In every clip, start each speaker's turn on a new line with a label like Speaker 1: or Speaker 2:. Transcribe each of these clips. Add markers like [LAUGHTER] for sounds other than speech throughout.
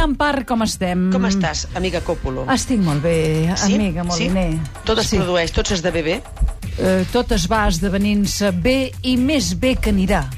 Speaker 1: Empar, com estem?
Speaker 2: Com estàs, amiga Còpolo?
Speaker 1: Estic molt bé, Mm. amiga Moliner.
Speaker 2: Sí? Tot es
Speaker 1: Sí.
Speaker 2: produeix, tot s'esdevé bé?
Speaker 1: Eh, tot es va esdevenint-se bé i més bé que anirà.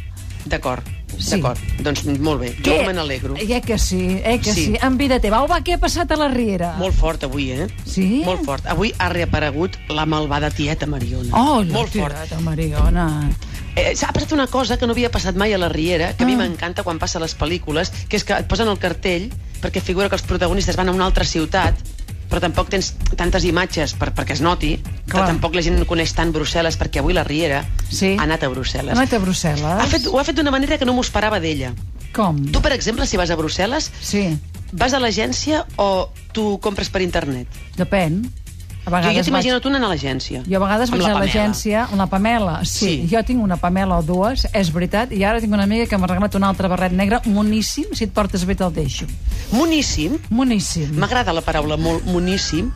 Speaker 2: D'acord,
Speaker 1: Sí.
Speaker 2: d'acord. Doncs molt bé, jo
Speaker 1: Què?
Speaker 2: me n'alegro.
Speaker 1: Eh que sí, eh que sí.
Speaker 2: Sí.
Speaker 1: sí. En vida teva. Home, què ha passat a la Riera?
Speaker 2: Molt fort avui, eh?
Speaker 1: Sí?
Speaker 2: Molt fort. Avui ha reaparegut la malvada tieta Mariona.
Speaker 1: Oh, la
Speaker 2: molt fort.
Speaker 1: tirada, Mariona.
Speaker 2: Eh, S'ha passat una cosa que no havia passat mai a la Riera, que a mi
Speaker 1: Ah.
Speaker 2: m'encanta quan passa a les pel·lícules, que és que et posen el cartell perquè figura que els protagonistes van a una altra ciutat, però tampoc tens tantes imatges per, perquè es noti, però
Speaker 1: Clar.
Speaker 2: tampoc la gent no coneix tant Brussel·les, perquè avui la Riera
Speaker 1: Sí.
Speaker 2: ha anat a Brussel·les.
Speaker 1: Ha anat a Brussel·les.
Speaker 2: Ha fet, ho ha fet d'una manera que no m'ho esperava d'ella.
Speaker 1: Com?
Speaker 2: Tu, per exemple, si vas a Brussel·les,
Speaker 1: Sí,
Speaker 2: vas a l'agència o tu compres per internet?
Speaker 1: depèn. A
Speaker 2: Jo, jo
Speaker 1: vegades
Speaker 2: t'imagino tu anant a l'agència.
Speaker 1: Jo a vegades
Speaker 2: amb
Speaker 1: vaig
Speaker 2: la
Speaker 1: a
Speaker 2: Pamela.
Speaker 1: l'agència, una Pamela, sí.
Speaker 2: Sí.
Speaker 1: Jo tinc una Pamela o dues, és veritat, i ara tinc una amiga que m'ha regalat un altre barret negre, moníssim, si et portes bé te'l deixo.
Speaker 2: Moníssim,
Speaker 1: Moníssim.
Speaker 2: M'agrada la paraula molt moníssim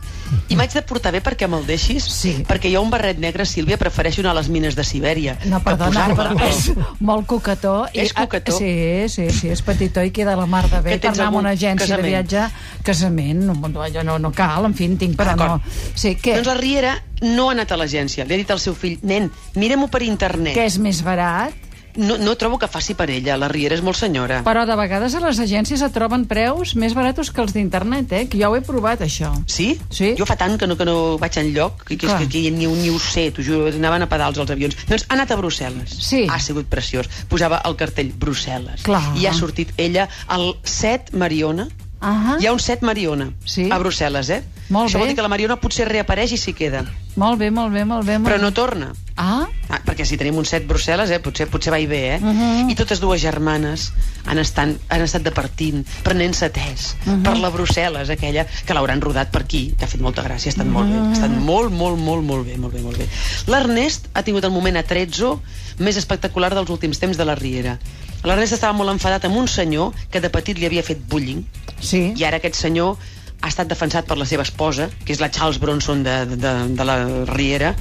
Speaker 2: i m'haig de portar bé perquè me'l deixis
Speaker 1: Sí.
Speaker 2: perquè jo un barret negre, Sílvia, prefereixo anar a les mines de Sibèria
Speaker 1: No,
Speaker 2: que
Speaker 1: perdona, però
Speaker 2: posar-me'l.
Speaker 1: és molt coquetó.
Speaker 2: És coquetó.
Speaker 1: Sí, sí, sí, és petitó i queda la mar de bé
Speaker 2: Que
Speaker 1: per
Speaker 2: tens
Speaker 1: anar amb
Speaker 2: algun
Speaker 1: una agència
Speaker 2: casament.
Speaker 1: de viatge. Casament, no, no, allò no, no cal, en fi, en tinc, però no.
Speaker 2: D'acord.
Speaker 1: Sí, què,
Speaker 2: Doncs la Riera no ha anat a l'agència. Li ha dit al seu fill, nen, mirem-ho per internet.
Speaker 1: què és més barat?
Speaker 2: No, no trobo que faci per ella. La Riera és molt senyora.
Speaker 1: Però de vegades a les agències et troben preus més baratos que els d'internet, eh? Que jo ho he provat, això.
Speaker 2: Sí?
Speaker 1: Sí.
Speaker 2: Jo fa tant que no, que no vaig enlloc, que, que, és
Speaker 1: Clar.
Speaker 2: que aquí ni, ho- ni ho sé, t'ho juro, anaven a pedals els avions. Doncs ha anat a Brussel·les.
Speaker 1: Sí.
Speaker 2: Ha sigut preciós. Posava el cartell Brussel·les.
Speaker 1: Clar.
Speaker 2: I ha sortit ella al 7 Mariona.
Speaker 1: Ahà.
Speaker 2: Hi ha un 7 Mariona
Speaker 1: Ah. Sí.
Speaker 2: a Brussel·les, eh?
Speaker 1: Molt
Speaker 2: Això
Speaker 1: bé.
Speaker 2: vol dir que la Mariona potser reapareix i s'hi queda,
Speaker 1: Molt bé, molt bé, molt bé. Molt
Speaker 2: però no
Speaker 1: bé.
Speaker 2: torna.
Speaker 1: Ah?
Speaker 2: Ah, perquè si tenim un set Brussel·les, eh, potser, potser va i bé, eh?
Speaker 1: Mhm.
Speaker 2: I totes dues germanes han estat, han estat departint, prenent-se tes per la Brussel·les, aquella que l'hauran rodat per aquí, que ha fet molta gràcia, ha estat molt bé, ha estat molt, molt, molt, molt bé, molt bé, molt bé. L'Ernest ha tingut el moment a 13 més espectacular dels últims temps de la Riera. L'Ernest estava molt enfadat amb un senyor que de petit li havia fet bullying,
Speaker 1: Sí.
Speaker 2: i ara aquest senyor ha estat defensat per la seva esposa, que és la Charles Bronson de, de, de la Riera,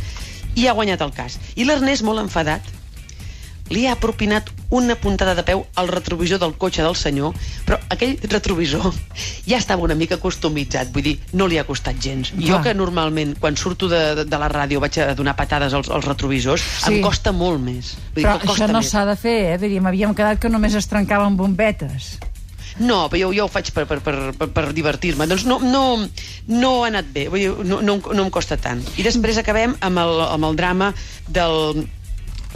Speaker 2: i ha guanyat el cas. I l'Ernest, molt enfadat, li ha propinat una puntada de peu al retrovisor del cotxe del senyor, però aquell retrovisor [LAUGHS] ja estava una mica customitzat, vull dir, no li ha costat gens. Jo
Speaker 1: Clar.
Speaker 2: que normalment, quan surto de, de, de la ràdio, vaig a donar patades als, als retrovisors,
Speaker 1: Sí.
Speaker 2: em costa molt més. Vull
Speaker 1: Però
Speaker 2: dir, que
Speaker 1: això
Speaker 2: costa
Speaker 1: no
Speaker 2: més.
Speaker 1: s'ha de fer, eh? Diríem, havíem quedat que només es trencaven bombetes.
Speaker 2: No, però jo, jo ho faig per, per, per, per, per divertir-me. Doncs no, no, no ha anat bé, vull dir, no, no, em- no em costa tant. I després acabem amb el, amb el drama del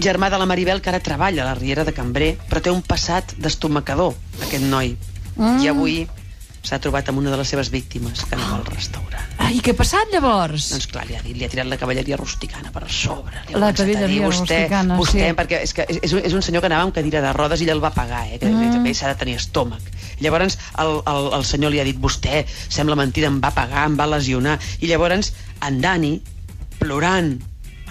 Speaker 2: germà de la Maribel, que ara treballa a la Riera de Cambrer, però té un passat d'estomacador, aquest noi. I avui s'ha trobat amb una de les seves víctimes, que anava al restaurant.
Speaker 1: Ai, què ha passat, llavors?
Speaker 2: Doncs clar, li ha, dit, li ha tirat la cavalleria rusticana per sobre. Li ha
Speaker 1: La
Speaker 2: començat a dir,
Speaker 1: cavalleria
Speaker 2: vostè,
Speaker 1: rusticana,
Speaker 2: vostè,
Speaker 1: sí.
Speaker 2: Perquè és, que és, és un- és un senyor que anava amb cadira de rodes i ell el va pagar, eh? Que mm. també s'ha de tenir estómac. Llavors el, el, el senyor li ha dit, vostè, sembla mentida, em va pagar, em va lesionar. I llavors en Dani, plorant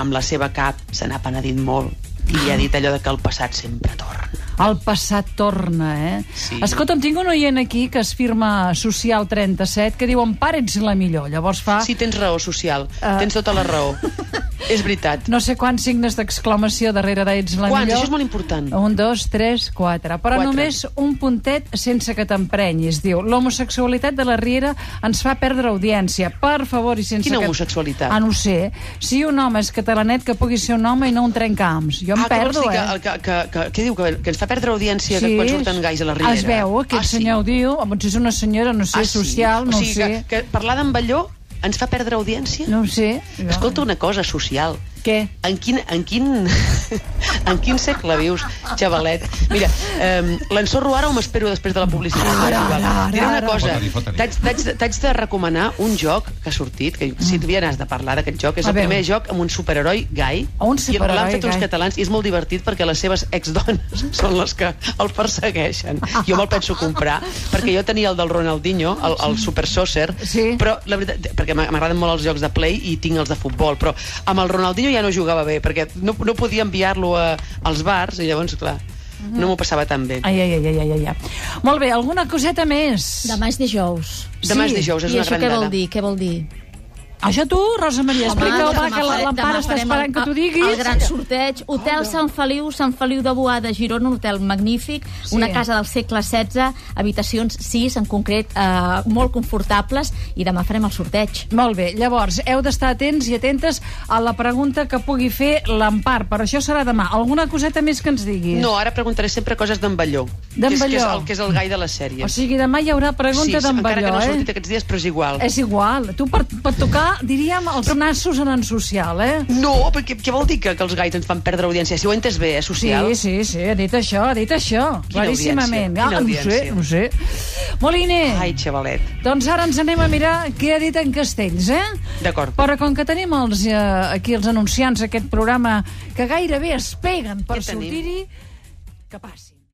Speaker 2: amb la seva cap, se n'ha penedit molt i li ha dit allò de que el passat sempre torna.
Speaker 1: El passat torna, eh?
Speaker 2: Sí.
Speaker 1: Escolta'm, tinc un oient aquí que es firma Social 37 que diu, en pare ets la millor. Llavors fa...
Speaker 2: Sí, tens raó social,
Speaker 1: Ah.
Speaker 2: tens tota la
Speaker 1: [LAUGHS]
Speaker 2: raó. és veritat.
Speaker 1: No sé quants signes d'exclamació darrere d'ets la
Speaker 2: Quants?
Speaker 1: millor.
Speaker 2: Això és molt important.
Speaker 1: Un, dos, tres, quatre. Però
Speaker 2: Quatre.
Speaker 1: només un puntet sense que t'emprenyis, diu. L'homosexualitat de la Riera ens fa perdre audiència. Per favor, i sense
Speaker 2: Quina
Speaker 1: que...
Speaker 2: homosexualitat?
Speaker 1: Ah, no ho sé. Si un home és catalanet, que pugui ser un home i no un trencams. Jo em
Speaker 2: Ah, que
Speaker 1: perdo,
Speaker 2: vols dir
Speaker 1: eh?
Speaker 2: que, Que, que, que, que diu? Que, que ens fa perdre audiència que quan surten gais a la Riera. Ah,
Speaker 1: Es veu, eh, aquest senyor ho diu, o potser és una senyora, no sé, social, no
Speaker 2: o sigui,
Speaker 1: ho sé.
Speaker 2: Que, que parlar d'en Balló ens fa perdre audiència?
Speaker 1: No ho sé. Jo-
Speaker 2: Escolta una cosa, social.
Speaker 1: Què?
Speaker 2: En quin, en quin, [LAUGHS] en quin segle vius, xavalet? Mira, eh, l'ensorro ara o m'espero després de la publicitat?
Speaker 1: Ara, ara, ara,
Speaker 2: Diré una
Speaker 1: ara.
Speaker 2: cosa,
Speaker 3: Fota-li, fota-li.
Speaker 2: t'haig t'haig de- t'haig de recomanar un joc que ha sortit, que Sílvia n'has de parlar d'aquest joc, és
Speaker 1: Mm. A
Speaker 2: el
Speaker 1: veure.
Speaker 2: primer joc amb un superheroi gai,
Speaker 1: Ah, un
Speaker 2: i
Speaker 1: superheroi
Speaker 2: l'han fet uns
Speaker 1: gai.
Speaker 2: catalans, i és molt divertit perquè les seves exdones [LAUGHS] són les que el persegueixen. Jo me'l penso comprar, perquè jo tenia el del Ronaldinho, el, el Super Saucer,
Speaker 1: Sí.
Speaker 2: però la veritat, perquè m'a- m'agraden molt els jocs de play i tinc els de futbol, però amb el Ronaldinho ja no jugava bé, perquè no, no podia enviar-lo a- als bars, i llavors, clar, no m'ho passava tan bé.
Speaker 1: Mhm. Ai, ai, ai, ai, ai, ai, ai. Molt bé, alguna coseta més?
Speaker 4: Demà és dijous.
Speaker 2: Demà és dijous, és
Speaker 4: I
Speaker 2: una
Speaker 4: això
Speaker 2: gran
Speaker 4: què vol
Speaker 2: dada.
Speaker 4: dir? Què vol dir?
Speaker 1: Això tu, Rosa Maria, explica-ho, va,
Speaker 3: demà
Speaker 1: que la
Speaker 3: farem-
Speaker 1: l'Empara
Speaker 3: demà
Speaker 1: està
Speaker 3: farem
Speaker 1: esperant
Speaker 3: el-
Speaker 1: que t'ho
Speaker 3: El
Speaker 1: diguis.
Speaker 3: gran sorteig, Hotel Sant Feliu, Sant Feliu de Boada, Girona, un hotel magnífic,
Speaker 1: Sí.
Speaker 3: una casa del segle XVI, habitacions 6 en concret, eh, molt confortables, i demà farem el sorteig.
Speaker 1: Molt bé, llavors, heu d'estar atents i atentes a la pregunta que pugui fer l'Empar, però això serà demà. Alguna coseta més que ens diguis?
Speaker 2: No, ara preguntaré sempre coses d'en Balló.
Speaker 1: D'en
Speaker 2: que és- Que és,
Speaker 1: Balló.
Speaker 2: el, que és el gai de les sèries.
Speaker 1: O sigui, demà hi haurà
Speaker 2: sí,
Speaker 1: pregunta
Speaker 2: sí,
Speaker 1: d'en
Speaker 2: encara que
Speaker 1: Balló,
Speaker 2: no ha sortit
Speaker 1: eh?
Speaker 2: aquests dies, però és igual.
Speaker 1: És igual. Tu per, per tocar, diríem, els nassos en en social, eh?
Speaker 2: No, perquè què vol dir que, que els gais ens fan perdre audiència? Si ho entes bé, eh,
Speaker 1: Sí,
Speaker 2: social.
Speaker 1: sí, sí, ha dit això, ha dit això.
Speaker 2: Quina
Speaker 1: claríssimament.
Speaker 2: audiència, quina
Speaker 1: ah, no ho sé,
Speaker 2: audiència.
Speaker 1: no ho sé. Moliner,
Speaker 2: Ai, xavalet.
Speaker 1: doncs ara ens anem a mirar què ha dit en Castells, eh?
Speaker 2: D'acord.
Speaker 1: Però com que tenim els, eh, aquí els anunciants d'aquest programa que gairebé es peguen per
Speaker 2: Què tenim?
Speaker 1: sortir-hi, que passin.